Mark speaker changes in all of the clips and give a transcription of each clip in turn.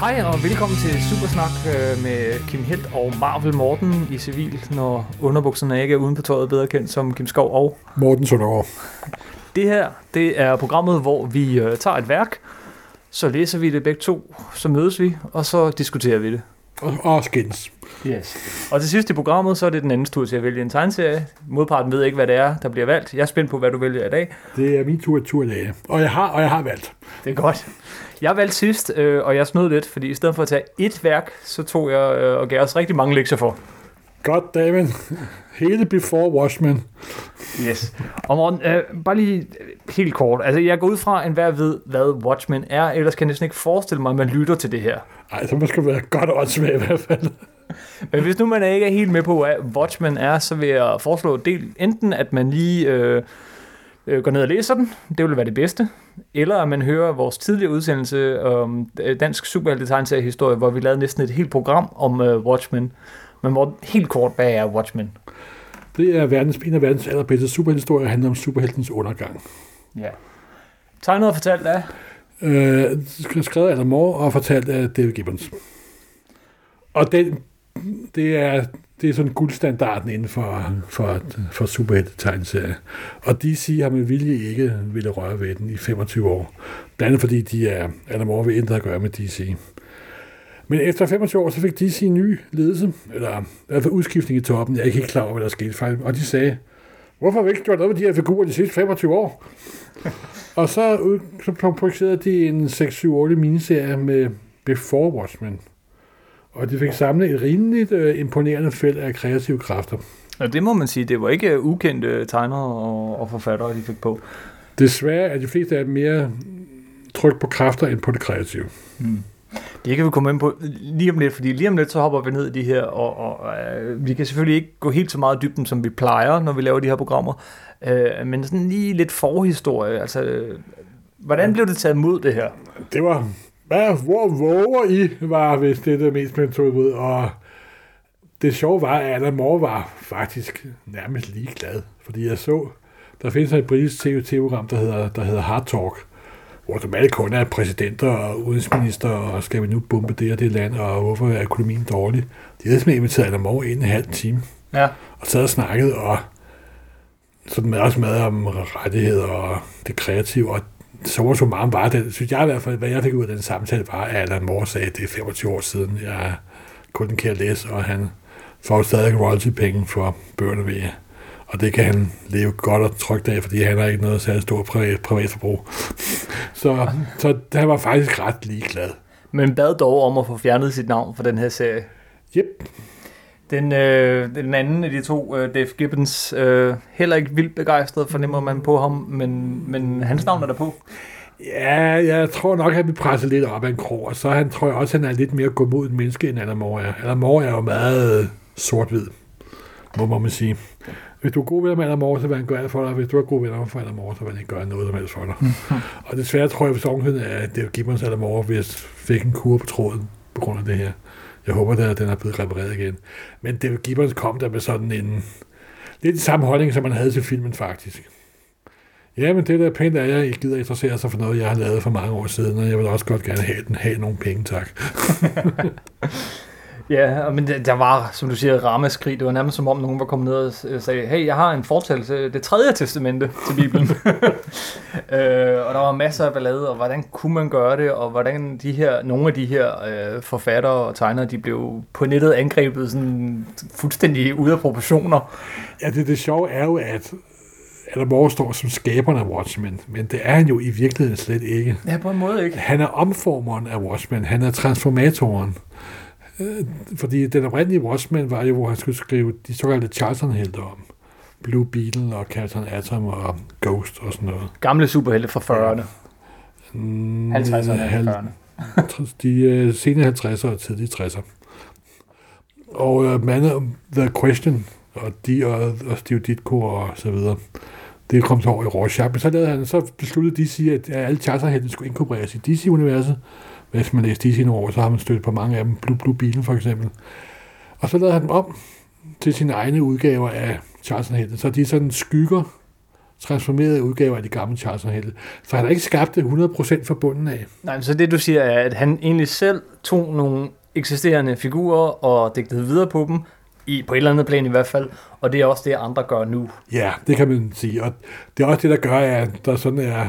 Speaker 1: Hej og velkommen til Supersnak øh, med Kim Helt og Marvel Morten i civil, når underbukserne ikke er uden på tøjet, bedre kendt som Kim Skov og.
Speaker 2: Morten Søndergaard.
Speaker 1: Det her, det er programmet, hvor vi øh, tager et værk, så læser vi det begge to, så mødes vi, og så diskuterer vi det.
Speaker 2: Og, og skins.
Speaker 1: Yes. Og til sidst i programmet, så er det den anden tur til at vælge en tegneserie. Modparten ved ikke, hvad det er, der bliver valgt. Jeg er spændt på, hvad du vælger i dag.
Speaker 2: Det er min tur tur i dag. Og jeg har, og jeg har valgt.
Speaker 1: Det er godt. Jeg valgte sidst, øh, og jeg snød lidt, fordi i stedet for at tage ét værk, så tog jeg øh, og gav os rigtig mange lektier for.
Speaker 2: God damn Hele Before Watchmen.
Speaker 1: Yes. Og Morten, øh, bare lige øh, helt kort. Altså, jeg går ud fra, at enhver ved, hvad Watchmen er, ellers kan jeg næsten ikke forestille mig, at man lytter til det her.
Speaker 2: Ej, så måske være godt åndssvagt i hvert fald.
Speaker 1: Men hvis nu man ikke er helt med på, hvad Watchmen er, så vil jeg foreslå del enten, at man lige øh, øh, går ned og læser den, det ville være det bedste, eller at man hører vores tidligere udsendelse om øh, dansk superhelte-tegneseriehistorie, hvor vi lavede næsten et helt program om øh, Watchmen. Men Morten, helt kort, hvad er Watchmen?
Speaker 2: Det er verdens, en af verdens allerbedste superheltehistorier, der handler om superheltens undergang.
Speaker 1: Ja. Tegnet og fortalt af...
Speaker 2: Øh, skrevet af Alan Moore og fortalt af David Gibbons. Og den, det er, det er sådan guldstandarden inden for, for, for superhelte-tegneserie. Og DC har med vilje ikke ville røre ved den i 25 år. Blandt andet fordi de er, Alan Moore vil intet at gøre med DC. Men efter 25 år, så fik DC en ny ledelse, eller i hvert fald udskiftning i toppen. Jeg er ikke helt klar over, hvad der skete faktisk. Og de sagde, hvorfor har vi ikke gjort noget med de her figurer de sidste 25 år? og så, ud- så producerede de en 6-7-8 miniserie med Before Watchmen. Og de fik samlet et rimeligt øh, imponerende felt af kreative kræfter.
Speaker 1: Og det må man sige, det var ikke øh, ukendte tegnere og, og forfattere, de fik på.
Speaker 2: Desværre er de fleste af dem mere tryk på kræfter end på det kreative.
Speaker 1: Det kan vi komme ind på lige om lidt, fordi lige om lidt så hopper vi ned i de her, og, og øh, vi kan selvfølgelig ikke gå helt så meget i dybden, som vi plejer, når vi laver de her programmer, øh, men sådan lige lidt forhistorie, altså øh, hvordan blev det taget imod det her?
Speaker 2: det var, hvad, hvor våger I var, hvis det er det mest, man tog ud. Og det sjove var, at Anna Moore var faktisk nærmest ligeglad, fordi jeg så, der findes et britisk TV-program, der hedder, der hedder Hard Talk, hvor som alle kun er præsidenter og udenrigsminister, og skal vi nu bombe det og det land, og hvorfor er økonomien dårlig? De havde simpelthen inviteret Anna Moore ind en halv time,
Speaker 1: Ja.
Speaker 2: og sad og snakkede, og sådan med, også med om rettigheder og det kreative, og så var så meget var den, synes jeg i hvert fald, hvad jeg fik ud af den samtale, var, at Alan Moore sagde, at det er 25 år siden, jeg kun kan læse, og han får stadig royalty-penge for bøgerne ved jer. Og det kan han leve godt og trygt af, fordi han har ikke noget særligt stort privat, privat forbrug. så, så han var faktisk ret ligeglad.
Speaker 1: Men bad dog om at få fjernet sit navn fra den her serie.
Speaker 2: Yep.
Speaker 1: Den, øh, den anden af de to, øh, Dave Gibbons, øh, heller ikke vildt begejstret, fornemmer man på ham, men, men hans navn er der på.
Speaker 2: Ja, jeg tror nok, han vil presse lidt op af en krog, og så han, tror jeg også, han er lidt mere godmodet menneske, end Alan Moore er. Alan Moore er jo meget øh, sort-hvid, må, må man sige. Hvis du er god venner med Alan Moore, så vil han gøre alt for dig, og hvis du er god venner for Alan Moore, så vil han ikke gøre noget som helst for dig. og desværre tror jeg, hvis ovenheden er, at det Gibbons Alan Moore hvis fik en kur på tråden på grund af det her. Jeg håber da, at den er blevet repareret igen. Men David Gibbons kom der med sådan en... Lidt den samme holdning, som man havde til filmen faktisk. Ja, men det der pænt er, at jeg ikke gider interessere sig for noget, jeg har lavet for mange år siden, og jeg vil også godt gerne have, den, have nogle penge, tak.
Speaker 1: Ja, og men der, der var, som du siger, ramaskrig. Det var nærmest som om nogen var kommet ned og s- øh, sagde, hey, jeg har en fortælling, det tredje testamente til Bibelen. øh, og der var masser af ballade, og hvordan kunne man gøre det, og hvordan de her, nogle af de her øh, forfattere og tegnere, de blev på nettet angrebet sådan fuldstændig ude af proportioner.
Speaker 2: Ja, det, det sjove er jo, at Adam Moore står som skaberen af Watchmen, men det er han jo i virkeligheden slet ikke.
Speaker 1: Ja, på en måde ikke.
Speaker 2: Han er omformeren af Watchmen, han er transformatoren. Øh, Fordi den oprindelige Watchmen var jo, hvor han skulle skrive de såkaldte Charlton-helte om. Blue Beetle og Captain Atom og Ghost og sådan noget.
Speaker 1: Gamle superhelte fra 40'erne.
Speaker 2: Mm,
Speaker 1: 50'erne
Speaker 2: halv-
Speaker 1: og 40'erne.
Speaker 2: de øh, sene 50'er og tidlige 60'er. Og øh, Man of The Question, og de og, og Steve Ditko og så videre, det kom så over i Rorschach. Men så, lavede han, så besluttede DC, at alle charterheltene skulle inkorporeres i DC-universet. Hvis man læser DC nogle år, så har man stødt på mange af dem. Blue Blue Bilen for eksempel. Og så lavede han dem om til sine egne udgaver af charterheltene. Så de er sådan skygger transformerede udgaver af de gamle Charles og Helte. Så han har ikke skabt det 100% fra bunden af.
Speaker 1: Nej, men så det du siger er, at han egentlig selv tog nogle eksisterende figurer og digtede videre på dem, i, på et eller andet plan i hvert fald, og det er også det, andre gør nu.
Speaker 2: Ja, det kan man sige. Og det er også det, der gør, at der sådan er,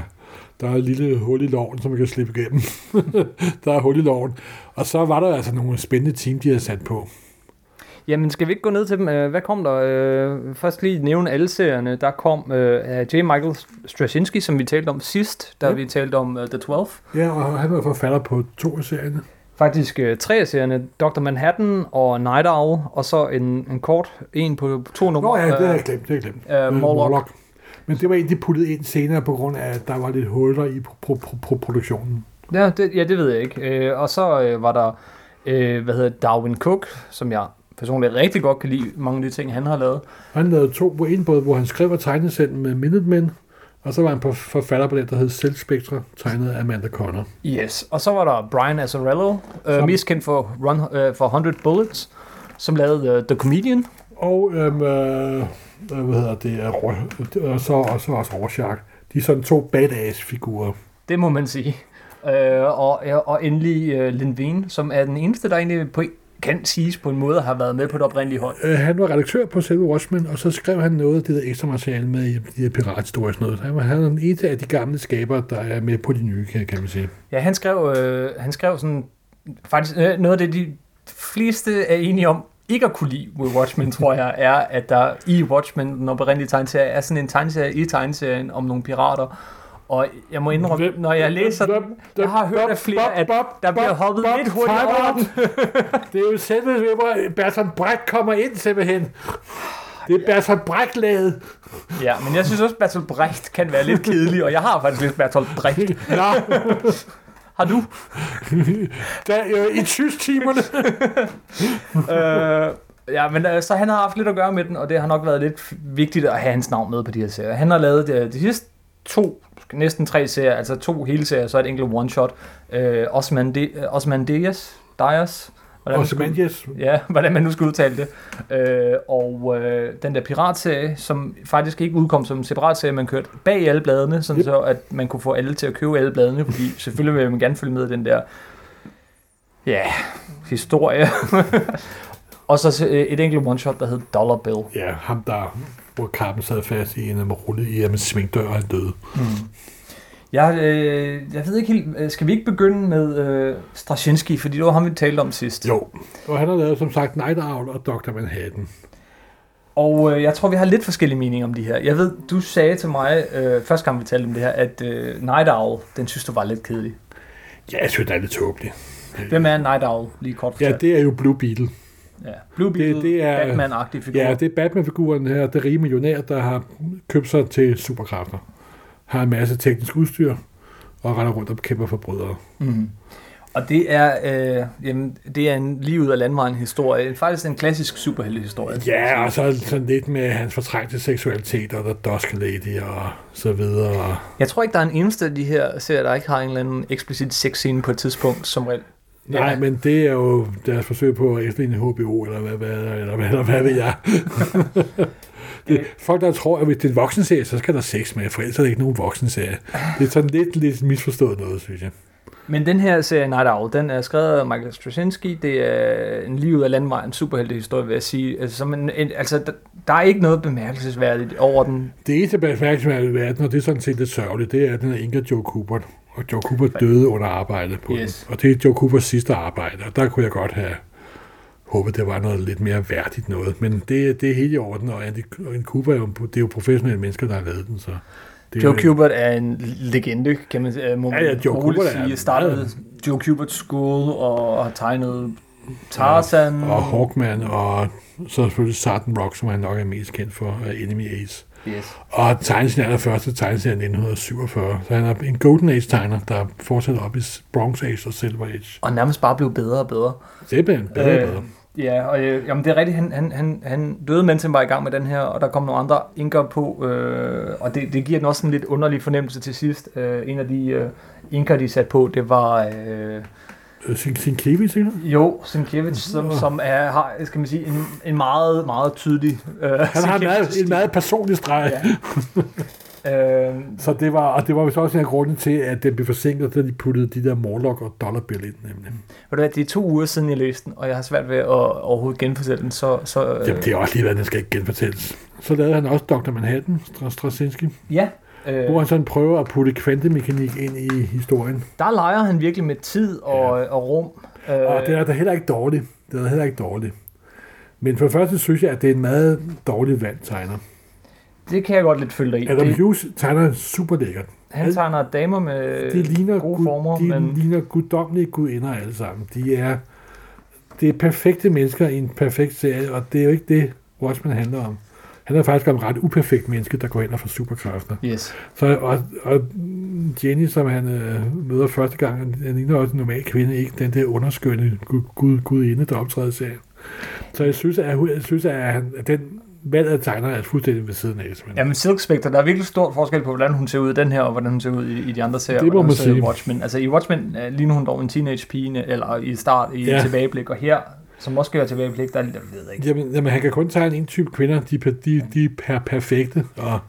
Speaker 2: der er et lille hul i loven, som man kan slippe igennem. der er hul i loven. Og så var der altså nogle spændende team, de havde sat på.
Speaker 1: Jamen, skal vi ikke gå ned til dem? Øh, Hvad kom der? Øh, Først lige nævne alle serierne. Der kom øh, af J. Michael Straczynski, som vi talte om sidst, da
Speaker 2: Ja.
Speaker 1: vi talte om øh, The 12.
Speaker 2: Ja, og han var forfatter på to af serierne.
Speaker 1: Faktisk øh, tre af serierne. Dr. Manhattan og Night Owl, og så en, en kort en på to numre.
Speaker 2: Nå ja, det Mm. har
Speaker 1: Øh,
Speaker 2: jeg glemt, det har jeg glemt.
Speaker 1: øh, Morlock.
Speaker 2: Men det var en, de puttede ind senere, på grund af, at der var lidt huller i pro- pro- pro- pro- produktionen.
Speaker 1: Ja, det, ja, det ved jeg ikke. Øh, og så øh, var der, øh, hvad hedder det, Darwin Cook, som jeg personligt rigtig godt kan lide mange af de ting, han har lavet.
Speaker 2: Han lavede to, hvor en både, hvor han skrev og tegnede selv med Minutemen, og så var han på forfatter på den, der hed Selvspektre, tegnet af Amanda Connor.
Speaker 1: Yes, og så var der Brian Azzarello, øh,
Speaker 2: Som-
Speaker 1: mest kendt for, Run, øh, for 100 Bullets, som lavede øh, The Comedian.
Speaker 2: Og øhm, øh, øh, hvad hedder det, øh, Ro- og så, og så også Rorschach. De er sådan to badass-figurer.
Speaker 1: Det må man sige. Øh, og, og endelig øh, Lindvin, som er den eneste, der egentlig på, kan siges på en måde har været med på det oprindelige hold.
Speaker 2: Øh, han var redaktør på selve Watchmen, og så skrev han noget af det der ekstra materiale med i de her piratstories og sådan noget. Han var, han er den eneste af de gamle skabere, der er med på de nye, kan, kan man sige.
Speaker 1: Ja, han skrev, øh, han skrev sådan, faktisk øh, noget af det, de fleste er enige om, ikke at kunne lide ved Watchmen, tror jeg, er, at der i Watchmen, den oprindelige tegneserie, er sådan en tegneserie i tegneserien om nogle pirater. Og jeg må indrømme, når jeg læser den, jeg har hørt af flere, at der bliver hoppet lidt hurtigt over den.
Speaker 2: det er jo selve, hvor Bertrand Brecht kommer ind simpelthen. Det er Bertrand Brecht-laget.
Speaker 1: Ja, men jeg synes også, at Bertolt Brecht kan være lidt kedelig, og jeg har faktisk lidt Bertolt Brecht.
Speaker 2: Nå,
Speaker 1: Har du?
Speaker 2: der, øh, i tysktimerne.
Speaker 1: øh, ja, men øh, så han har haft lidt at gøre med den, og det har nok været lidt vigtigt at have hans navn med på de her serier. Han har lavet øh, de, de sidste to, næsten tre serier, altså to hele serier, så et enkelt one-shot. Øh, Osman, de, øh, Osman Dias, Dias, hvordan,
Speaker 2: Og
Speaker 1: man skulle,
Speaker 2: Semantius.
Speaker 1: ja, hvordan man nu skulle udtale det. Øh, og øh, den der piratserie, som faktisk ikke udkom som en separat serie, man kørte bag i alle bladene, sådan yep.
Speaker 2: Yep.
Speaker 1: så at man kunne få alle til at købe alle bladene, fordi selvfølgelig vil man gerne følge med i den der ja, historie. og så øh, et enkelt one-shot, der hed Dollar Bill.
Speaker 2: Ja, ham der, hvor kappen sad fast i en af dem og rullede i ham en svingdør, og han døde.
Speaker 1: Jeg, øh, jeg ved ikke helt, øh, skal vi ikke begynde med øh, Straczynski, fordi det var ham, vi talte om sidst.
Speaker 2: Jo. Og han har lavet, som sagt, Night Owl og Dr. Manhattan.
Speaker 1: Og øh, jeg tror, vi har lidt forskellige meninger om de her. Jeg ved, du sagde til mig, øh, første gang vi talte om det her, at øh, Night Owl, den synes du var lidt kedelig.
Speaker 2: Ja, jeg synes, det er lidt tåbeligt.
Speaker 1: Hvem er Night Owl, lige kort
Speaker 2: Ja,
Speaker 1: fortalt?
Speaker 2: det er jo Blue Beetle.
Speaker 1: Ja, Blue Beetle, det, det
Speaker 2: det
Speaker 1: er,
Speaker 2: er-
Speaker 1: Batman-agtig figur.
Speaker 2: Ja, det er Batman-figuren her, det rige millionær, der har købt sig til superkræfter. Har en masse teknisk udstyr og render rundt og kæmper forbrydere.
Speaker 1: Mm. Og det er, øh, jamen, det er en lige ud af landvejen historie. Faktisk en klassisk superheltehistorie.
Speaker 2: Ja, og så sådan lidt med hans fortrængte seksualitet og The Dusk Lady og så videre.
Speaker 1: Jeg tror ikke, der er en eneste af de her serier, der ikke har en eller anden eksplicit sexscene på et tidspunkt, som regel.
Speaker 2: Nej,
Speaker 1: Ja.
Speaker 2: men det er jo deres forsøg på at efterligne HBO, eller hvad, hvad, eller, hvad, eller hvad ved jeg. det, folk, der tror, at hvis det er en voksenserie, så skal der sex med, for ellers er det ikke nogen voksenserie. Det er sådan lidt, lidt misforstået noget, synes jeg.
Speaker 1: Men den her serie Night Owl, den er skrevet af Michael Straczynski. Det er en lige ud af landvejen superheltehistorie, vil jeg sige. Altså, som en, en, altså der, der er ikke noget bemærkelsesværdigt over den.
Speaker 2: Det eneste bemærkelsesværdige i verden, og det er sådan set lidt sørgeligt, det er, at den er Inga Joe Cooper. Og Joe Cooper døde under arbejdet på
Speaker 1: Yes.
Speaker 2: yes. den. Og det er Joe Coopers sidste arbejde, og der kunne jeg godt have håbet, det var noget lidt mere værdigt noget. Men det, det er helt i orden, og Andy og Andy Cooper er jo, det er jo professionelle mennesker, der har lavet den, så... Det
Speaker 1: Joe Kubert er en legende, kan man øh, må
Speaker 2: Ja, ja,
Speaker 1: man
Speaker 2: Joe
Speaker 1: roligt
Speaker 2: Kubert er
Speaker 1: sige.
Speaker 2: meget-
Speaker 1: Startede Joe Kubert School og har tegnet Tarzan.
Speaker 2: og Hawkman, og så selvfølgelig Sartan Rock, som han nok er mest kendt for, og Enemy Ace.
Speaker 1: Yes.
Speaker 2: Og tegneserien er der første tegneserie 1947, så han er en Golden Age-tegner, der fortsætter op i Bronze Age og Silver Age.
Speaker 1: Og nærmest bare blev bedre og bedre.
Speaker 2: Det er bedre,
Speaker 1: Øh.
Speaker 2: bedre, bedre.
Speaker 1: ja, og øh, jamen, det er rigtigt, han, han, han, han døde, mens han var i gang med den her, og der kom nogle andre inker på, øh, og det, det giver den også en lidt underlig fornemmelse til sidst. Øh, en af de øh, inker, de satte på, det var øh,
Speaker 2: Øh, Sin, sin Kiwi, siger du?
Speaker 1: Jo Sienkiewicz, som, som er, har, skal man sige, en, en meget, meget tydelig... Øh,
Speaker 2: Han har en meget, en meget personlig streg.
Speaker 1: Ja.
Speaker 2: Ja.
Speaker 1: Øh,
Speaker 2: Så det var, og det var vist også en af grunden til, at den blev forsinket, da de puttede de der Morlock og Dollar Bill ind, nemlig.
Speaker 1: ved du hvad, det er to uger siden, jeg læste den, og jeg har svært ved at overhovedet genfortælle den, så... så øh,
Speaker 2: Jamen, det er også lige, hvad den skal ikke genfortælles. Så lavede han også Dr. Manhattan, Stra- Straczynski,
Speaker 1: Ja, øh,
Speaker 2: hvor han sådan prøver at putte kvantemekanik ind i historien.
Speaker 1: der leger han virkelig med tid og, og rum. Øh,
Speaker 2: Og Ah, det er da heller ikke dårligt. Det er da heller ikke dårligt. Men for det første synes jeg, at det er en meget dårlig vand tegner.
Speaker 1: det kan jeg godt lidt følge dig i.
Speaker 2: Adam
Speaker 1: Det,
Speaker 2: Hughes tegner super lækkert.
Speaker 1: han tegner damer med
Speaker 2: De ligner,
Speaker 1: Øh, gode
Speaker 2: gud,
Speaker 1: former,
Speaker 2: de
Speaker 1: men-
Speaker 2: ligner guddommelige gudinder alle sammen. De er, det er perfekte mennesker i en perfekt serie, og det er jo ikke det, Watchmen handler om. Han er faktisk om et ret uperfekt menneske, der går ind og får superkræfter.
Speaker 1: Yes.
Speaker 2: Så, og, og Jenny, som han øh, møder første gang, han ligner også en normal kvinde, ikke den der underskønne gud, gud, gudinde, der optræder i serien. Så jeg synes, at, hun- jeg synes, at, han, at den valg af tegner er fuldstændig ved siden af. Ja.
Speaker 1: Jamen Silk Spectre, der er virkelig stor forskel på, hvordan hun ser ud i den her, og hvordan hun ser ud i, i de andre serier.
Speaker 2: Det må
Speaker 1: hvordan hun
Speaker 2: man
Speaker 1: ser ud i
Speaker 2: sige.
Speaker 1: Watchmen. Altså i Watchmen øh, ligner hun dog en teenage-pige, eller i start i ja.
Speaker 2: Ja.
Speaker 1: tilbageblik, og her, som også gør tilbageblik, der er lidt, jeg ved ikke.
Speaker 2: Jamen, jamen, han kan kun tegne en type kvinder, de, er per- de, de er per, perfekte, og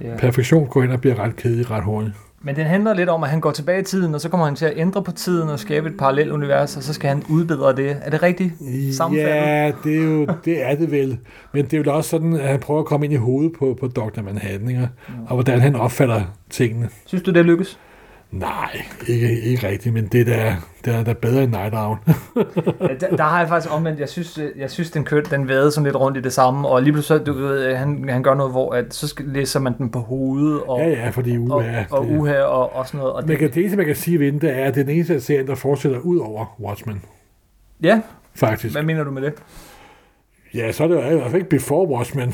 Speaker 1: Ja.
Speaker 2: perfektion går hen og bliver ret kedelig ret hurtigt.
Speaker 1: Men den handler lidt om, at han går tilbage i tiden, og så kommer han til at ændre på tiden og skabe et parallelt univers, og så skal han udbedre det. Er det rigtigt? Sammenfattet.
Speaker 2: Ja, det er, jo, det er det vel. Men det er jo også sådan, at han prøver at komme ind i hovedet på, på Dr. Manhattan, ikke? og hvordan han opfatter tingene.
Speaker 1: Synes du, det lykkes?
Speaker 2: Nej, ikke, ikke rigtigt, men det der, det er da bedre end Night Owl.
Speaker 1: Ja, Øh, der, der har jeg faktisk omvendt. Jeg synes, øh, jeg synes den kørte, den vædede sådan lidt rundt i det samme, og lige pludselig, så, du ved, øh, han, han gør noget, hvor at, så skal, læser man den på hovedet, og,
Speaker 2: ja, ja, fordi
Speaker 1: og,
Speaker 2: uha.
Speaker 1: og uha, og, og sådan noget. Og
Speaker 2: man
Speaker 1: det,
Speaker 2: kan, det eneste, man kan sige ved den, det er, at det er den eneste af serien, der fortsætter ud over Watchmen,
Speaker 1: ja,
Speaker 2: faktisk.
Speaker 1: hvad mener du med det?
Speaker 2: Ja, så er det jo i hvert fald ikke Before Watchmen.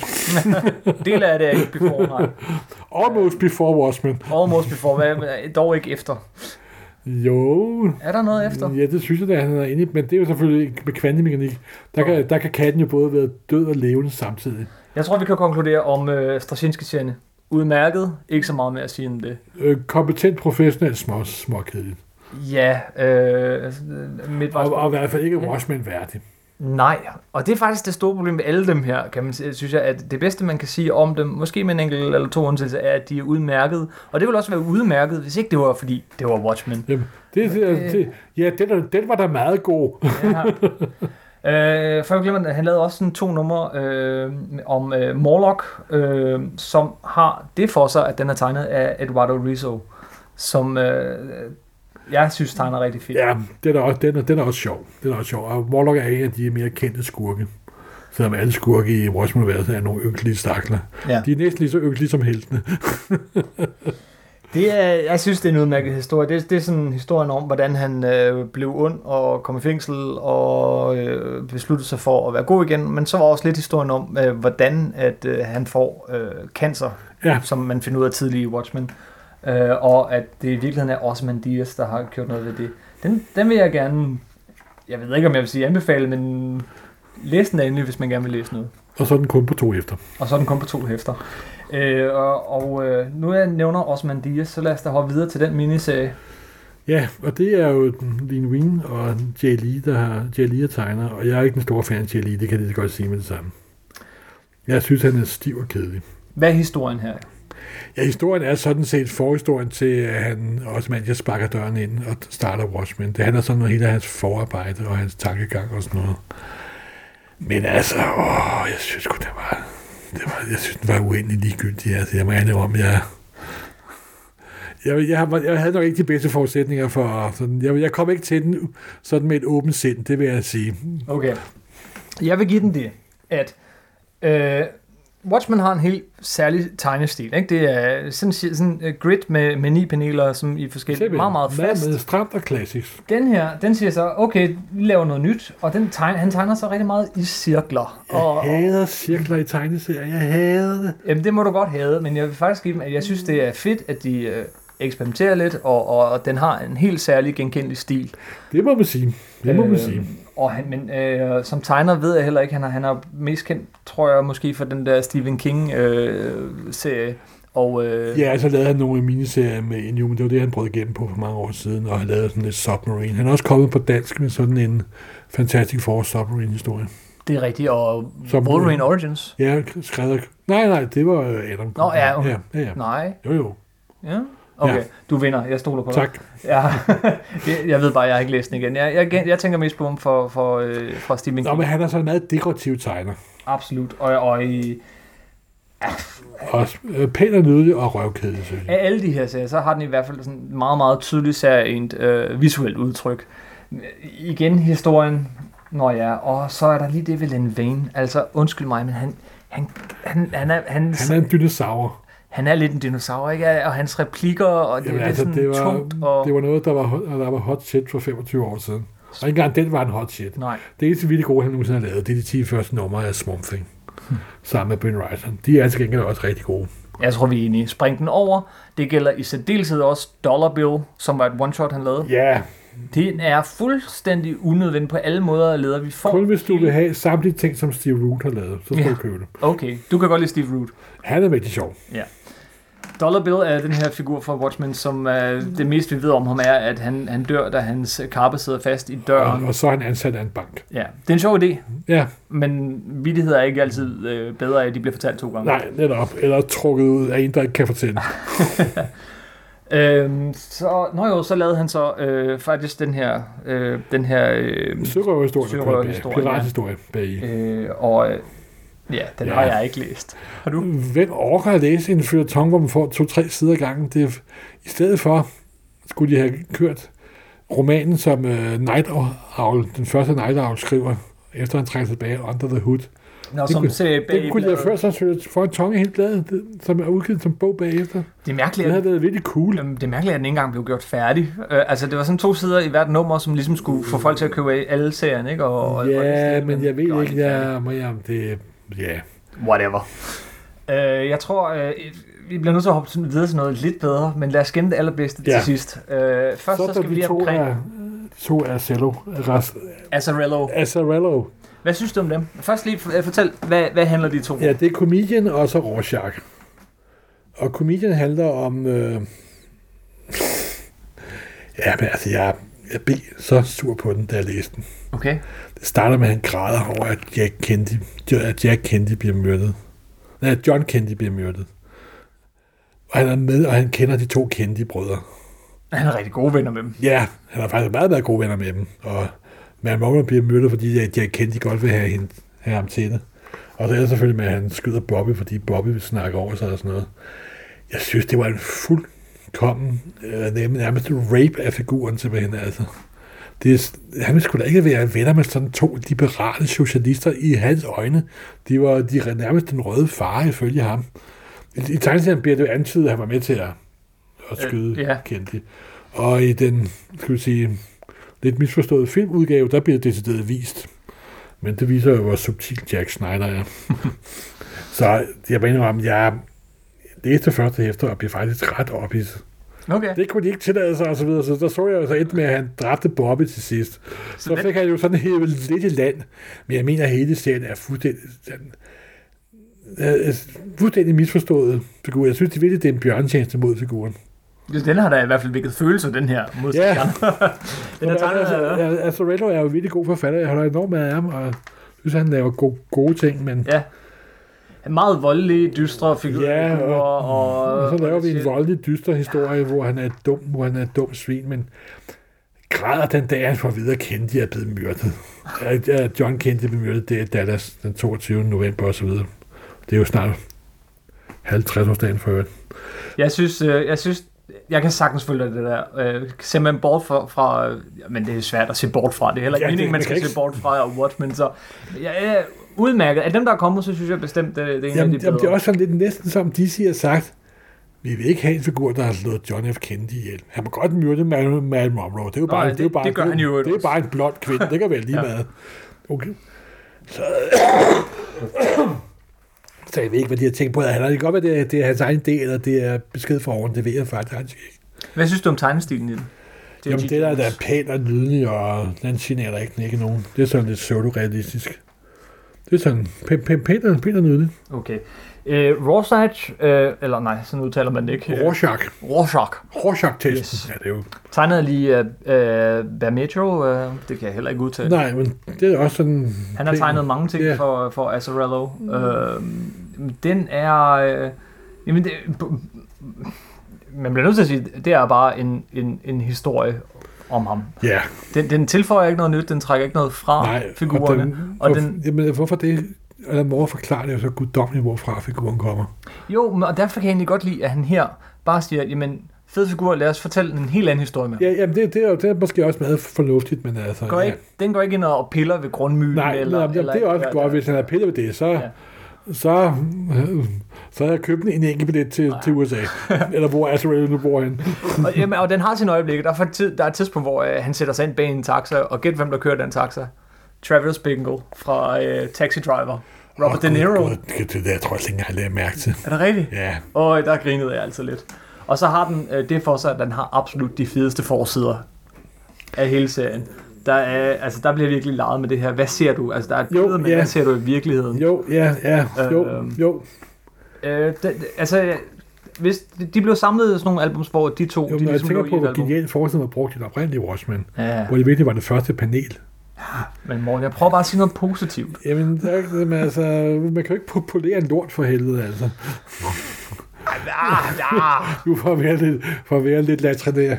Speaker 1: Del af det er ikke before, nej.
Speaker 2: Almost Before Watchmen.
Speaker 1: Almost before, hvad, men dog ikke efter.
Speaker 2: Jo,
Speaker 1: Er der noget efter?
Speaker 2: Ja, det synes jeg, da han er inde i. Men det er jo selvfølgelig ikke med kvantemekanik. Der kan, der kan katten jo både være død og levende samtidig.
Speaker 1: Jeg tror, vi kan konkludere om øh, Straczynski-serien. Udmærket, ikke så meget mere at sige end det.
Speaker 2: Øh, kompetent, professionel, små, småkedeligt.
Speaker 1: Ja, øh, altså, øh, mit
Speaker 2: Og,
Speaker 1: og,
Speaker 2: og, i hvert fald ikke Watchmen værdig.
Speaker 1: Nej, og det er faktisk det store problem med alle dem her, kan man sige, synes jeg, at det bedste, man kan sige om dem, måske med en enkelt eller to undtagelser, er, at de er udmærket. Og det ville også være udmærket, hvis ikke det var, fordi det var Watchmen.
Speaker 2: Jamen, det, det, det, ja, den, er- den var da meget god.
Speaker 1: Ja. øh, for jeg glemmer, det, han lavede også sådan to numre øh, om øh, Morlock, øh, som har det for sig, at den er tegnet af Eduardo Rizzo, som øh, jeg synes tegner rigtig fint.
Speaker 2: Ja, den er, også, den, er, den er også sjov. Den er også sjov. Og Morlock er en af de mere kendte skurke. Selvom alle skurke i Watchmen-universet er nogle ynkelige stakler.
Speaker 1: Ja.
Speaker 2: De er næsten lige så ynkelige som heltene.
Speaker 1: Det er, jeg synes, det er en udmærket historie. Det, det er sådan historien om, hvordan han øh, blev ond og kom i fængsel og øh, besluttede sig for at være god igen. Men så var også lidt historien om, øh, hvordan at øh, han får øh, cancer,
Speaker 2: Ja.
Speaker 1: som man finder ud af tidligere i Watchmen. Øh, og at det i virkeligheden er Osman Dias, der har gjort noget ved det. Den, den vil jeg gerne, jeg ved ikke om jeg vil sige anbefale, men læs den endelig, hvis man gerne vil læse noget.
Speaker 2: Og så er den kun på to efter.
Speaker 1: Og så er den kun på to hæfter. Øh, og og øh, nu jeg nævner Osman Dias, så lad os da hoppe videre til den miniserie.
Speaker 2: Ja, og det er jo Lean Wien og Jay Lee, der har Jay Lee er tegner, og jeg er ikke en stor fan af Jay Lee, det kan jeg lige så godt sige med det samme. Jeg synes, han er stiv og kedelig.
Speaker 1: Hvad er historien her?
Speaker 2: Ja, historien er sådan set forhistorien til, at han også mand, jeg sparker døren ind og starter Watchmen. Det handler sådan noget hele af hans forarbejde og hans tankegang og sådan noget. Men altså, åh, jeg synes sgu, det var, det var, jeg synes, den var uendelig ligegyldig. Altså, jeg må anede om, jeg, jeg, jeg, var- jeg havde nok ikke de bedste forudsætninger for sådan, jeg, jeg kom ikke til den sådan med et åbent sind, det vil jeg sige.
Speaker 1: Okay. Jeg vil give den det, at øh, Watchmen har en helt særlig tegnestil. Ikke? Det er sådan, sådan en grid med, med ni paneler, som i forskellige meget, meget fast.
Speaker 2: Meget, meget stramt og klassisk.
Speaker 1: Den her, den siger så, okay, vi laver noget nyt, og den tegn, han tegner så rigtig meget i cirkler.
Speaker 2: Jeg
Speaker 1: Og,
Speaker 2: hader cirkler i tegneserier, jeg hader det.
Speaker 1: Jamen, det må du godt have, men jeg vil faktisk give dem, at jeg synes, det er fedt, at de øh, eksperimenterer lidt, og, og, og den har en helt særlig genkendelig stil. Øhm,
Speaker 2: Det må man sige. Det må
Speaker 1: Øh,
Speaker 2: man sige.
Speaker 1: Og han, men øh, som tegner ved jeg heller ikke, han er, han er mest kendt, tror jeg, måske for den der Stephen King-serie. Øh, serie. og øh,
Speaker 2: Ja, så lavede han nogle miniserier med Inhuman. Det var det, han brød igennem på for mange år siden, og har lavet sådan lidt Submarine. Han er også kommet på dansk med sådan en Fantastic Four Submarine-historie.
Speaker 1: Det er rigtigt, og
Speaker 2: Som-
Speaker 1: Wolverine Origins.
Speaker 2: Ja, skrevet... Nej, nej, det var øh, Adam.
Speaker 1: Nå, ja, okay.
Speaker 2: ja, ja, ja.
Speaker 1: Nej,
Speaker 2: Jo, jo.
Speaker 1: ja. Okay,
Speaker 2: Ja.
Speaker 1: du vinder. Jeg stoler på dig.
Speaker 2: Tak.
Speaker 1: Ja. Jeg- jeg ved bare, jeg har ikke læst den igen. Jeg, jeg, jeg tænker mest på dem for, for, øh, fra Stephen
Speaker 2: Nå,
Speaker 1: King.
Speaker 2: men han er sådan en meget dekorativ tegner.
Speaker 1: Absolut. Og, og i,
Speaker 2: Og øh, pæn og nydelig og røvkæde, synes jeg.
Speaker 1: af alle de her serier, så har den i hvert fald sådan meget, meget tydeligt serient øh, visuelt udtryk. Igen historien, når ja, og så er der lige det ved Len Vane. Altså, undskyld mig, men han, han, han, han, er, han,
Speaker 2: Han er en dinosaur.
Speaker 1: han Altså, er lidt en dinosaur, ikke? Og hans replikker, og det
Speaker 2: Jamen,
Speaker 1: er lidt
Speaker 2: altså,
Speaker 1: sådan
Speaker 2: det var-
Speaker 1: tungt. Og...
Speaker 2: Det var noget, der var, hot- der var hot shit for 25 år siden. Og ikke engang den var en hot shit.
Speaker 1: Nej,
Speaker 2: Det eneste vildt gode, han nogensinde har lavet, det er de 10 første numre af Swamp Thing. Hmm. Sammen med Ben Ryder. De er altså gengæld også rigtig gode.
Speaker 1: jeg tror, vi er enige. Spring den over. Det gælder i særdeleshed også Dollar Bill, som var et one-shot, han lavede.
Speaker 2: Ja,
Speaker 1: Den er fuldstændig unødvendig på alle måder at leder. Vi får
Speaker 2: kun hvis du vil have samtlige ting, som Steve Root har lavet, så skal
Speaker 1: Ja.
Speaker 2: du købe det.
Speaker 1: Okay, du kan godt lide Steve Root.
Speaker 2: Han er virkelig sjov.
Speaker 1: Dollar Bill er den her figur fra Watchmen, som uh, det meste vi ved om ham er, at han, han dør, da hans kappe sidder fast i døren.
Speaker 2: Og, og så er han ansat af en bank.
Speaker 1: Ja, det er en sjov idé,
Speaker 2: Ja,
Speaker 1: men vittigheder er ikke altid øh, bedre af, at de bliver fortalt to gange.
Speaker 2: nej, netop. Eller trukket ud af en, der ikke kan fortælle.
Speaker 1: Øhm, så, nå jo, så lavede han så øh, faktisk den her, øh, den her øh,
Speaker 2: Sørøverhistorie.
Speaker 1: Sørøverhistorie,
Speaker 2: Sørøverhistorie. Pirathistorie bagi.
Speaker 1: øh, og øh, ja, den
Speaker 2: Ja.
Speaker 1: har jeg ikke læst. Har du?
Speaker 2: Hvem orker at læse en følgetong, hvor man får to-tre sider ad gangen? Det er, I stedet for skulle de have kørt romanen, som uh, Night Owl, den første Night Owl skriver, efter han trækker tilbage, Under the Hood.
Speaker 1: Nå, som
Speaker 2: kunne-
Speaker 1: ser bag
Speaker 2: Den kunne de have ført sig for en tonge helt bladet, det- som er udgivet som bog bagefter.
Speaker 1: Det er
Speaker 2: Det
Speaker 1: mærkeligt, at
Speaker 2: havde været virkelig cool.
Speaker 1: Jamen, det er mærkeligt, at den ikke engang blev gjort færdig. Øh, altså, det var sådan to sider i hvert nummer, som ligesom skulle få folk til at købe alle serien, ikke? Og, og- og det
Speaker 2: Ja,
Speaker 1: slet,
Speaker 2: men jeg ved
Speaker 1: gjorde
Speaker 2: ikke, jeg, må jeg, om det, ja.
Speaker 1: færdig. Whatever. Øh, jeg tror, øh, vi bliver nødt til at hoppe sådan videre til noget lidt bedre, men lad os gemme det allerbedste
Speaker 2: Ja.
Speaker 1: til sidst. Øh, først så,
Speaker 2: Så,
Speaker 1: så
Speaker 2: da
Speaker 1: skal vi
Speaker 2: de
Speaker 1: lige
Speaker 2: to
Speaker 1: omkring
Speaker 2: er, to er cello, rest,
Speaker 1: Azarello.
Speaker 2: Azarello.
Speaker 1: Hvad synes du om dem? Først lige øh, fortæl, hvad, hvad handler de to om?
Speaker 2: Ja, det er Comedian og så Rorschach. Og Comedian handler om... Øh... Ja, men altså, jeg, jeg blev så sur på den, da jeg læste den.
Speaker 1: Okay.
Speaker 2: Det starter med, at han græder over, at Jack Kennedy, at Jack Kennedy bliver myrdet. Nej, at John Kennedy bliver myrdet. Og han er med, og han kender de to Kennedy-brødre.
Speaker 1: Han er rigtig gode venner med dem.
Speaker 2: Ja, han har faktisk meget, meget gode venner med dem. Og Matt Morgan bliver myrdet, fordi at Jack Kennedy godt vil have, hende, have ham til det. Og så er det selvfølgelig med, at han skyder Bobby, fordi Bobby vil snakke over sig og sådan noget. Jeg synes, det var en fuldkommen, øh, nem- nærmest rape af figuren simpelthen, altså. Det, er- han skulle da ikke være venner med sådan to liberale socialister i hans øjne. De var de er nærmest den røde far ifølge ham. I, i tegneserien bliver det jo antydet, at han var med til at, at
Speaker 1: Øh,
Speaker 2: skyde øh,
Speaker 1: ja.
Speaker 2: yeah. Kennedy. Og i den, skal vi sige, lidt misforståede filmudgave, der bliver det decideret vist. Men det viser jo, hvor subtil Jack Snyder er. Så jeg mener om, jeg læste første hæfter og blev faktisk ret ophids.
Speaker 1: Okay.
Speaker 2: Det kunne de ikke tillade sig, og så videre. Så der så jeg jo så endte med, at han dræbte Bobby til sidst. Så fik han jo sådan hævet lidt i land. Men jeg mener, at hele serien er fuldstændig, den, er fuldstændig misforstået figur. Jeg synes det virkelig, det er en bjørntjeneste mod figuren.
Speaker 1: Den har da i hvert fald vækket følelser, den her modstand. den er tegnet
Speaker 2: altså, altså, Azarello er jo virkelig god forfatter. Jeg holder enormt meget af ham, og synes, han laver gode, gode ting, men
Speaker 1: Ja. Meget voldelige, dystre figurer.
Speaker 2: Ja, og-
Speaker 1: og, øh,
Speaker 2: Og så laver vi en
Speaker 1: shit.
Speaker 2: voldelig, dyster historie, hvor han er dum, hvor han er et dum svin, men græder den dag, han får videre at kende, de er blevet myrdet. At- at John Kennedy blev myrdet, det er Dallas den 22. november osv. Det er jo snart 50-årsdagen for øvrigt.
Speaker 1: Jeg synes, øh, jeg synes, jeg kan sagtens følge det der. Øh, ser man bort fra, fra øh, men det er svært at se bort fra. Det er heller ikke
Speaker 2: Ja,
Speaker 1: ja,
Speaker 2: det-
Speaker 1: meningen, man
Speaker 2: man
Speaker 1: skal
Speaker 2: kan ikke-
Speaker 1: se bort fra og Watchmen. Så jeg er udmærket. Af dem, der er kommet, så synes jeg bestemt, øh, det, det er en
Speaker 2: Jamen,
Speaker 1: af de
Speaker 2: jamen,
Speaker 1: bedre.
Speaker 2: det er også sådan lidt næsten som DC har sagt, vi vil ikke have en figur, der har slået John F. Kennedy ihjel. Han må godt myrde Marilyn Marilyn Monroe. Det er jo bare,
Speaker 1: Nej,
Speaker 2: det, er jo
Speaker 1: det-
Speaker 2: bare,
Speaker 1: det gør
Speaker 2: er
Speaker 1: han jo
Speaker 2: Det er
Speaker 1: også.
Speaker 2: bare en blond kvinde. Det kan være lige
Speaker 1: Ja.
Speaker 2: meget. Okay. Så, så jeg ved ikke, hvad de har tænkt på. Han har det kan godt være, det er, det er hans egen del, eller det er besked fra oven. Det ved jeg faktisk ikke.
Speaker 1: Hvad synes du om tegnestilen i den? Det er
Speaker 2: Jamen,
Speaker 1: G.
Speaker 2: det der, der er
Speaker 1: Jones.
Speaker 2: pænt og nydelig, og den generer ikke, ikke nogen. Det er sådan lidt pseudo-realistisk. Det er sådan pænt, pænt, pænt, og- pænt og nydeligt.
Speaker 1: Okay. Øh, Rorschach, øh, eller nej, sådan udtaler man det ikke.
Speaker 2: Rorschach.
Speaker 1: Rorschach.
Speaker 2: Rorschach-testen.
Speaker 1: Yes.
Speaker 2: Ja, det er jo.
Speaker 1: Tegnede lige øh, øh, Bermetro, øh, det kan jeg heller ikke udtale.
Speaker 2: Nej, men det er også sådan...
Speaker 1: Han har tegnet mange ting
Speaker 2: Ja.
Speaker 1: yeah. for, for Azzarello. Mm. Øh, den er... Øh, jamen, det, b- man bliver nødt til at sige, det er bare en, en, en historie om ham.
Speaker 2: Ja,
Speaker 1: Den, den tilføjer ikke noget nyt, den trækker ikke noget fra
Speaker 2: nej. og
Speaker 1: Ah, figurerne.
Speaker 2: den-
Speaker 1: og
Speaker 2: og
Speaker 1: den-
Speaker 2: Jamen, hvorfor det... Eller mor forklarer det jo så guddommeligt, hvorfra figuren kommer.
Speaker 1: Jo, men- og derfor kan jeg egentlig godt lide, at han her bare siger, jamen, fed figur, lad os fortælle en helt anden historie med.
Speaker 2: Ja, jamen, det, det, er jo, det er måske også meget fornuftigt, men altså...
Speaker 1: Går
Speaker 2: ja.
Speaker 1: ikke, den går ikke ind og piller ved grundmyen.
Speaker 2: Nej,
Speaker 1: eller,
Speaker 2: eller, jamen,
Speaker 1: eller
Speaker 2: det er også
Speaker 1: eller-
Speaker 2: godt, hvis han har pillet ved det, så,
Speaker 1: Ja.
Speaker 2: ja. så, øh, så har jeg købt en enkeltbillet til, til USA, eller hvor Azrael nu bor han.
Speaker 1: og, jamen, og den har sin øjeblik. Der er, for tid, der er et tidspunkt, hvor øh, han sætter sig ind bag en taxa, og gæt hvem, der kører den taxa. Travis Binkle fra øh, Taxi Driver. Robert
Speaker 2: Åh,
Speaker 1: De
Speaker 2: Gud,
Speaker 1: Niro.
Speaker 2: Gud, det, det, jeg tror jeg slet ikke, engang, jeg lagde mærke til.
Speaker 1: Er det rigtigt?
Speaker 2: Ja,
Speaker 1: Og der grinede jeg altså lidt. Og så har den øh, det for sig, at den har absolut de fedeste forsider af hele serien. Der, er, altså, der bliver virkelig leget med det her. Hvad ser du? Altså, der er et
Speaker 2: Jo,
Speaker 1: billede, men
Speaker 2: ja.
Speaker 1: hvad ser du i virkeligheden?
Speaker 2: jo, ja, ja, jo,
Speaker 1: Øh, øhm.
Speaker 2: jo.
Speaker 1: Øh, det, det- altså, hvis de, de blev samlet i sådan nogle albums, hvor de to...
Speaker 2: jo
Speaker 1: de
Speaker 2: men jeg tænker
Speaker 1: lå ligesom i
Speaker 2: på,
Speaker 1: et
Speaker 2: hvor
Speaker 1: album.
Speaker 2: genialt forskningen var brugt i den oprindelige Watchmen,
Speaker 1: Ja,
Speaker 2: hvor det virkelig var det første panel.
Speaker 1: men Morten, jeg prøver bare at sige noget positivt.
Speaker 2: Jamen, der, er ikke det med, altså, man kan jo ikke populere en lort for helvede, altså.
Speaker 1: Ah, ah.
Speaker 2: Nu for at være lidt, for at være lidt latrinær.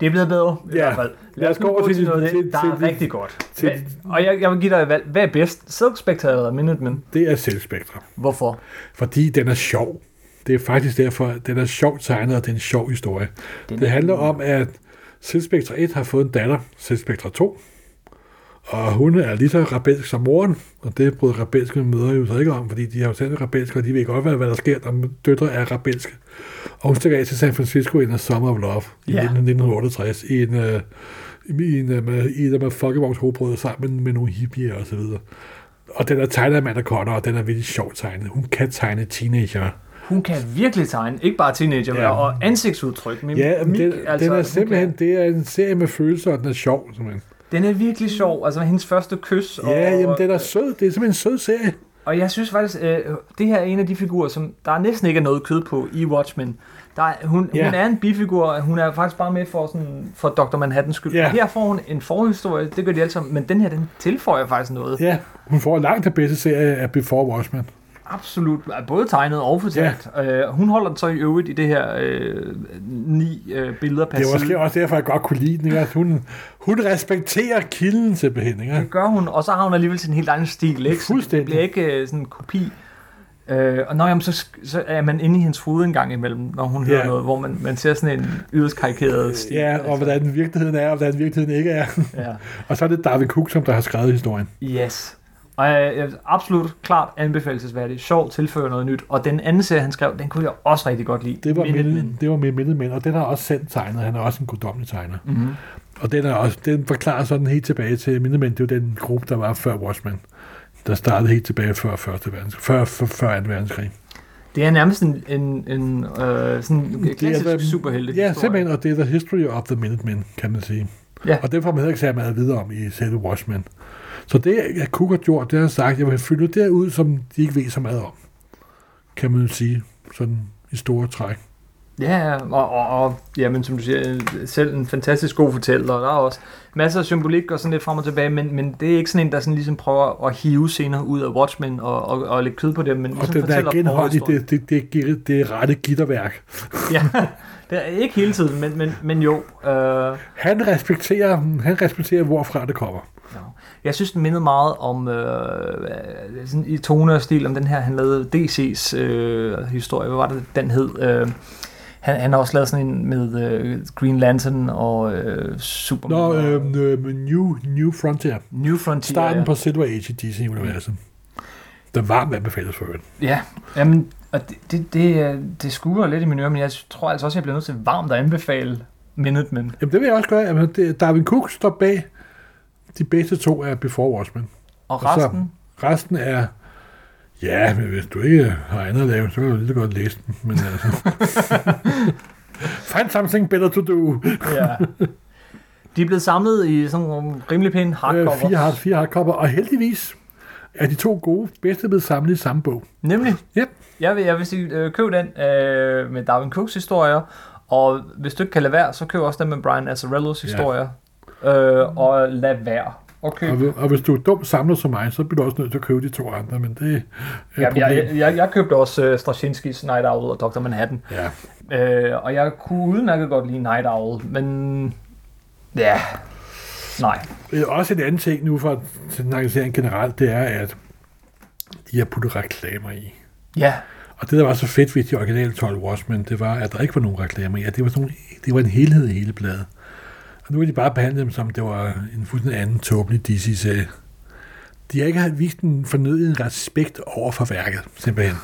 Speaker 1: Det er blevet bedre, i
Speaker 2: Ja.
Speaker 1: hvert fald.
Speaker 2: Lad os gå over til-
Speaker 1: noget af det,
Speaker 2: til-
Speaker 1: der
Speaker 2: til-
Speaker 1: er rigtig godt.
Speaker 2: til-
Speaker 1: Hvad- og jeg, jeg vil give dig et valg. Hvad er bedst? Silk Spectre eller Minutemen?
Speaker 2: Det er selvspektrum.
Speaker 1: Hvorfor?
Speaker 2: fordi den er sjov. Det er faktisk derfor, at den er sjovt tegnet, og det er en sjov historie.
Speaker 1: Den
Speaker 2: Den
Speaker 1: er-
Speaker 2: det handler om, at Silspektra 1 har fået en datter, Silspektra 2, og hun er lige så rebelsk som moren, og det bryder rebelske møder jo så ikke om, fordi de har jo selv været rebelske, og de ved godt, hvad, hvad der sker, når døtre er rebelske. Og hun stikker af til San Francisco i en Summer of Love i
Speaker 1: Ja.
Speaker 2: 1968, i en, øh, i en, øh, i en af Folkevogns hovedbrød sammen med nogle hippier og så videre. Og den er tegnet af Amanda Conner, og den er virkelig sjovt tegnet. Hun kan tegne teenager.
Speaker 1: Hun kan virkelig tegne, ikke bare teenager, ja.
Speaker 2: Ja.
Speaker 1: og ansigtsudtryk. Mimik,
Speaker 2: Ja, men den, altså, den er
Speaker 1: hun
Speaker 2: simpelthen,
Speaker 1: Kan,
Speaker 2: det er en serie med følelser, og den er sjov, simpelthen.
Speaker 1: den er virkelig sjov, altså hendes første kys. Og,
Speaker 2: Ja, jamen, den er sød. Det er simpelthen en sød serie.
Speaker 1: Og jeg synes faktisk, øh, det her er en af de figurer, som der næsten ikke er noget kød på i Watchmen. Der er, hun,
Speaker 2: Ja.
Speaker 1: hun er en bifigur, hun er faktisk bare med for, sådan, for Dr. Manhattans skyld.
Speaker 2: Ja.
Speaker 1: Her får hun en forhistorie, det gør de alle sammen, men den her, den tilføjer faktisk noget.
Speaker 2: Ja, hun får langt den bedste serie af Before Watchmen.
Speaker 1: Absolut, både tegnet og fortalt. Ja. Øh, hun holder den så i øvrigt i det her øh, ni øh, billeder per
Speaker 2: Det var måske
Speaker 1: side.
Speaker 2: også derfor, jeg godt kunne lide den. Ikke? Altså, Hun, hun respekterer kilden simpelthen. Ikke?
Speaker 1: Det gør hun, og så har hun alligevel sin helt egen stil, ikke? Så det
Speaker 2: Fuldstændig.
Speaker 1: bliver ikke øh, sådan en kopi. Øh, og når jamen, så, så er man inde i hendes hoved en gang imellem, når hun hører
Speaker 2: Ja. Øh,
Speaker 1: noget, hvor man, man ser sådan en yderst karikeret stil. Altså,
Speaker 2: Ja, og hvordan virkeligheden er, og hvordan virkeligheden ikke er.
Speaker 1: Ja.
Speaker 2: Og så er det David Cook, som der har skrevet historien.
Speaker 1: Yes. Og øh, jeg, jeg, absolut klart anbefalesværdig. Sjov, tilfører noget nyt. Og den anden serie, han skrev, den kunne jeg også rigtig godt lide.
Speaker 2: Det var,
Speaker 1: Minutemen.
Speaker 2: Minutemen. det var med Minutemen, og den har også selv tegnet. Han er også en guddommelig tegner.
Speaker 1: Mhm.
Speaker 2: Og den, er også, den forklarer sådan helt tilbage til Minutemen. Det var den gruppe, der var før Watchmen. Der startede helt tilbage før, første verdenskrig, før, før, før 2. verdenskrig.
Speaker 1: Det er nærmest en, en, en øh, sådan en klassisk
Speaker 2: hvad-
Speaker 1: superhelte
Speaker 2: Ja, simpelthen, og det er The History of the Minutemen, kan man sige.
Speaker 1: Ja.
Speaker 2: Og det får man heller ikke særlig meget videre om i selve Watchmen. Så det, jeg Cook har gjort, det har han sagt, jeg vil fylde det ud, som de ikke ved så meget om, kan man sige, sådan i store træk.
Speaker 1: Ja, og, og, og jamen, som du siger, selv en fantastisk god fortæller, og der er også masser af symbolik og sådan lidt frem og tilbage, men, men det er ikke sådan en, der sådan ligesom prøver at hive scener ud af Watchmen og, og, og lægge kød på dem, men ligesom
Speaker 2: Og den der
Speaker 1: fortæller
Speaker 2: genhold i
Speaker 1: forhistorien.
Speaker 2: det, det, det, det, det rette gitterværk.
Speaker 1: Ja, det er ikke hele tiden, men, men, men jo. Øh,
Speaker 2: Han respekterer, han respekterer, hvorfra det kommer.
Speaker 1: Ja. Jeg synes, den mindede meget om, øh, øh, sådan i tone og stil, om den her, han lavede DC's øh, historie. Hvad var det, den hed? Øh, han, han har også lavet sådan en med øh, Green Lantern og øh, Superman.
Speaker 2: Nå,
Speaker 1: og
Speaker 2: øhm, øh, New, New Frontier.
Speaker 1: New Frontier.
Speaker 2: Starten på Silver Age i DC-universet. Der var anbefales for øvrigt.
Speaker 1: Ja, jamen, og det, det, det, øh, det skuer lidt i min øre, men jeg tror altså også, jeg bliver nødt til varmt at anbefale Minutemen.
Speaker 2: Jamen, det vil jeg også gøre. Jamen, det, Darwin Cook står bag de bedste to af Before Watchmen.
Speaker 1: Og
Speaker 2: Og så-
Speaker 1: resten,
Speaker 2: Resten er... Ja, men hvis du ikke har andet at lave, så kan du lige så godt læse den. Men altså... Find something better to do. Øh,
Speaker 1: ja. De er blevet samlet i sådan nogle rimelig pæne
Speaker 2: Øh,
Speaker 1: hardcover.
Speaker 2: fire, hard, fire hardcover, og heldigvis er de to gode bedste blevet samlet i samme bog.
Speaker 1: Nemlig.
Speaker 2: Yep.
Speaker 1: Jeg vil, jeg vil sige, øh, køb den øh, med Darwin Cooks historier, og hvis du ikke kan lade være, så køb også den med Brian Azzarellos
Speaker 2: Ja.
Speaker 1: historier. Øh, og lad være. Og køb
Speaker 2: Og, hvi- og hvis du er dum samler som mig, så bliver du også nødt til at købe de to andre, men det er et
Speaker 1: Ja,
Speaker 2: problem.
Speaker 1: jeg, jeg, jeg købte også uh, Straczynskis Night Owl og Dr. Manhattan,
Speaker 2: Ja.
Speaker 1: uh, og jeg kunne udmærket godt lide Night Owl, men ja, nej.
Speaker 2: Øh, Også en anden ting nu for signalisering generelt, det er, at de har puttet reklamer i.
Speaker 1: Ja,
Speaker 2: Og det, der var så fedt ved de originale 12 Watchmen, det var, at der ikke var nogen reklamer i, at det var, sådan, nogle- det var en helhed i hele bladet. Og nu har de bare behandlet dem, som det var en fuldstændig anden tåbelig DC-serie. De har ikke haft vist den fornødende respekt over for værket, simpelthen.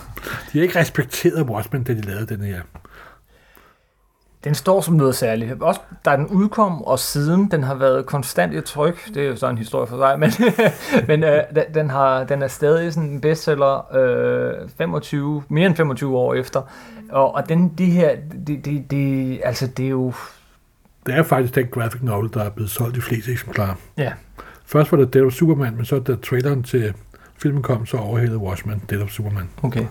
Speaker 2: De har ikke respekteret Watchmen, da de lavede den her.
Speaker 1: den står som noget særligt. Også da den udkom, og siden den har været konstant i tryk, det er jo så en historie for sig, men, men uh, den, den, har, den er stadig sådan en bestseller uh, 25, mere end 25 år efter, og, og den, de her, det de, de, altså det er jo,
Speaker 2: Det er faktisk den graphic novel, der er blevet solgt i flest eksemplarer.
Speaker 1: ja,
Speaker 2: Først var det Dead of Superman, men så da traileren til filmen kom, så overhældede Watchmen Dead of Superman.
Speaker 1: Okay.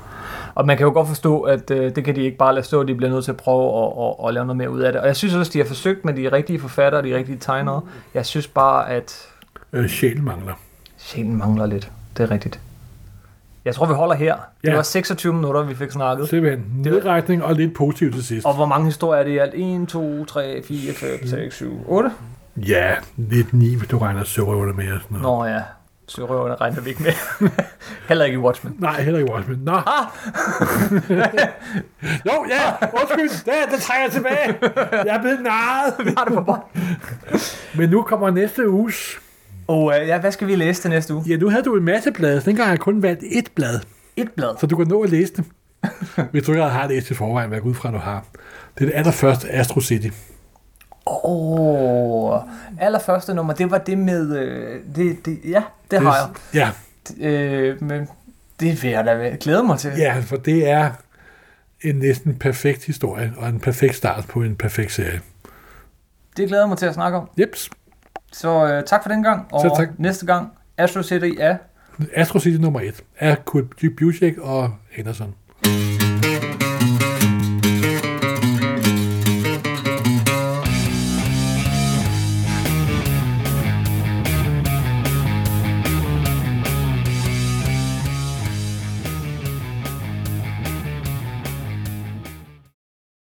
Speaker 1: Og man kan jo godt forstå, at øh, det kan de ikke bare lade stå, de bliver nødt til at prøve at, at, at lave noget mere ud af det. Og jeg synes også, de har forsøgt med de rigtige forfattere og de rigtige tegnere. Jeg synes bare, at
Speaker 2: Øh, sjælen mangler.
Speaker 1: sjælen mangler lidt. Det er rigtigt. Jeg tror, vi holder her. Det
Speaker 2: Ja.
Speaker 1: var 26 minutter, vi fik snakket.
Speaker 2: Simpelthen nedretning og lidt positivt til sidst.
Speaker 1: Og hvor mange historier er det i alt? 1, 2, 3, 4, 5, 6, 7, 8?
Speaker 2: Ja, lidt ni, hvis du regner sørøverne med og sådan noget.
Speaker 1: Nå ja, sørøverne regner vi ikke med. Heller ikke i Watchmen.
Speaker 2: Nej, heller ikke Watchmen. Nå. Ah. jo, ja, undskyld. Det, det trækker jeg tilbage. Jeg er blevet narret.
Speaker 1: Vi har det på bånd.
Speaker 2: Men nu kommer næste uges.
Speaker 1: Og øh, ja, hvad skal vi læse til næste uge?
Speaker 2: Ja, nu havde du en masse blade. så Dengang har jeg kun valgt et blad.
Speaker 1: Et blad.
Speaker 2: Så du kan nå at læse dem. Hvis du ikke har læst i forvejen, hvad jeg går ud fra, du har. Det er det allerførste Astro City.
Speaker 1: Åh, oh, allerførste nummer, det var det med, øh, det, det, ja, det har jeg.
Speaker 2: Ja,
Speaker 1: Øh, men det vil jeg da glæde mig til.
Speaker 2: ja, for det er en næsten perfekt historie, og en perfekt start på en perfekt serie.
Speaker 1: Det glæder jeg mig til at snakke om.
Speaker 2: Jeps.
Speaker 1: Så øh, tak for den gang, og
Speaker 2: Selv tak.
Speaker 1: næste gang, Astro City er...
Speaker 2: Astro City nummer 1 er Kurt Busiek og Henderson.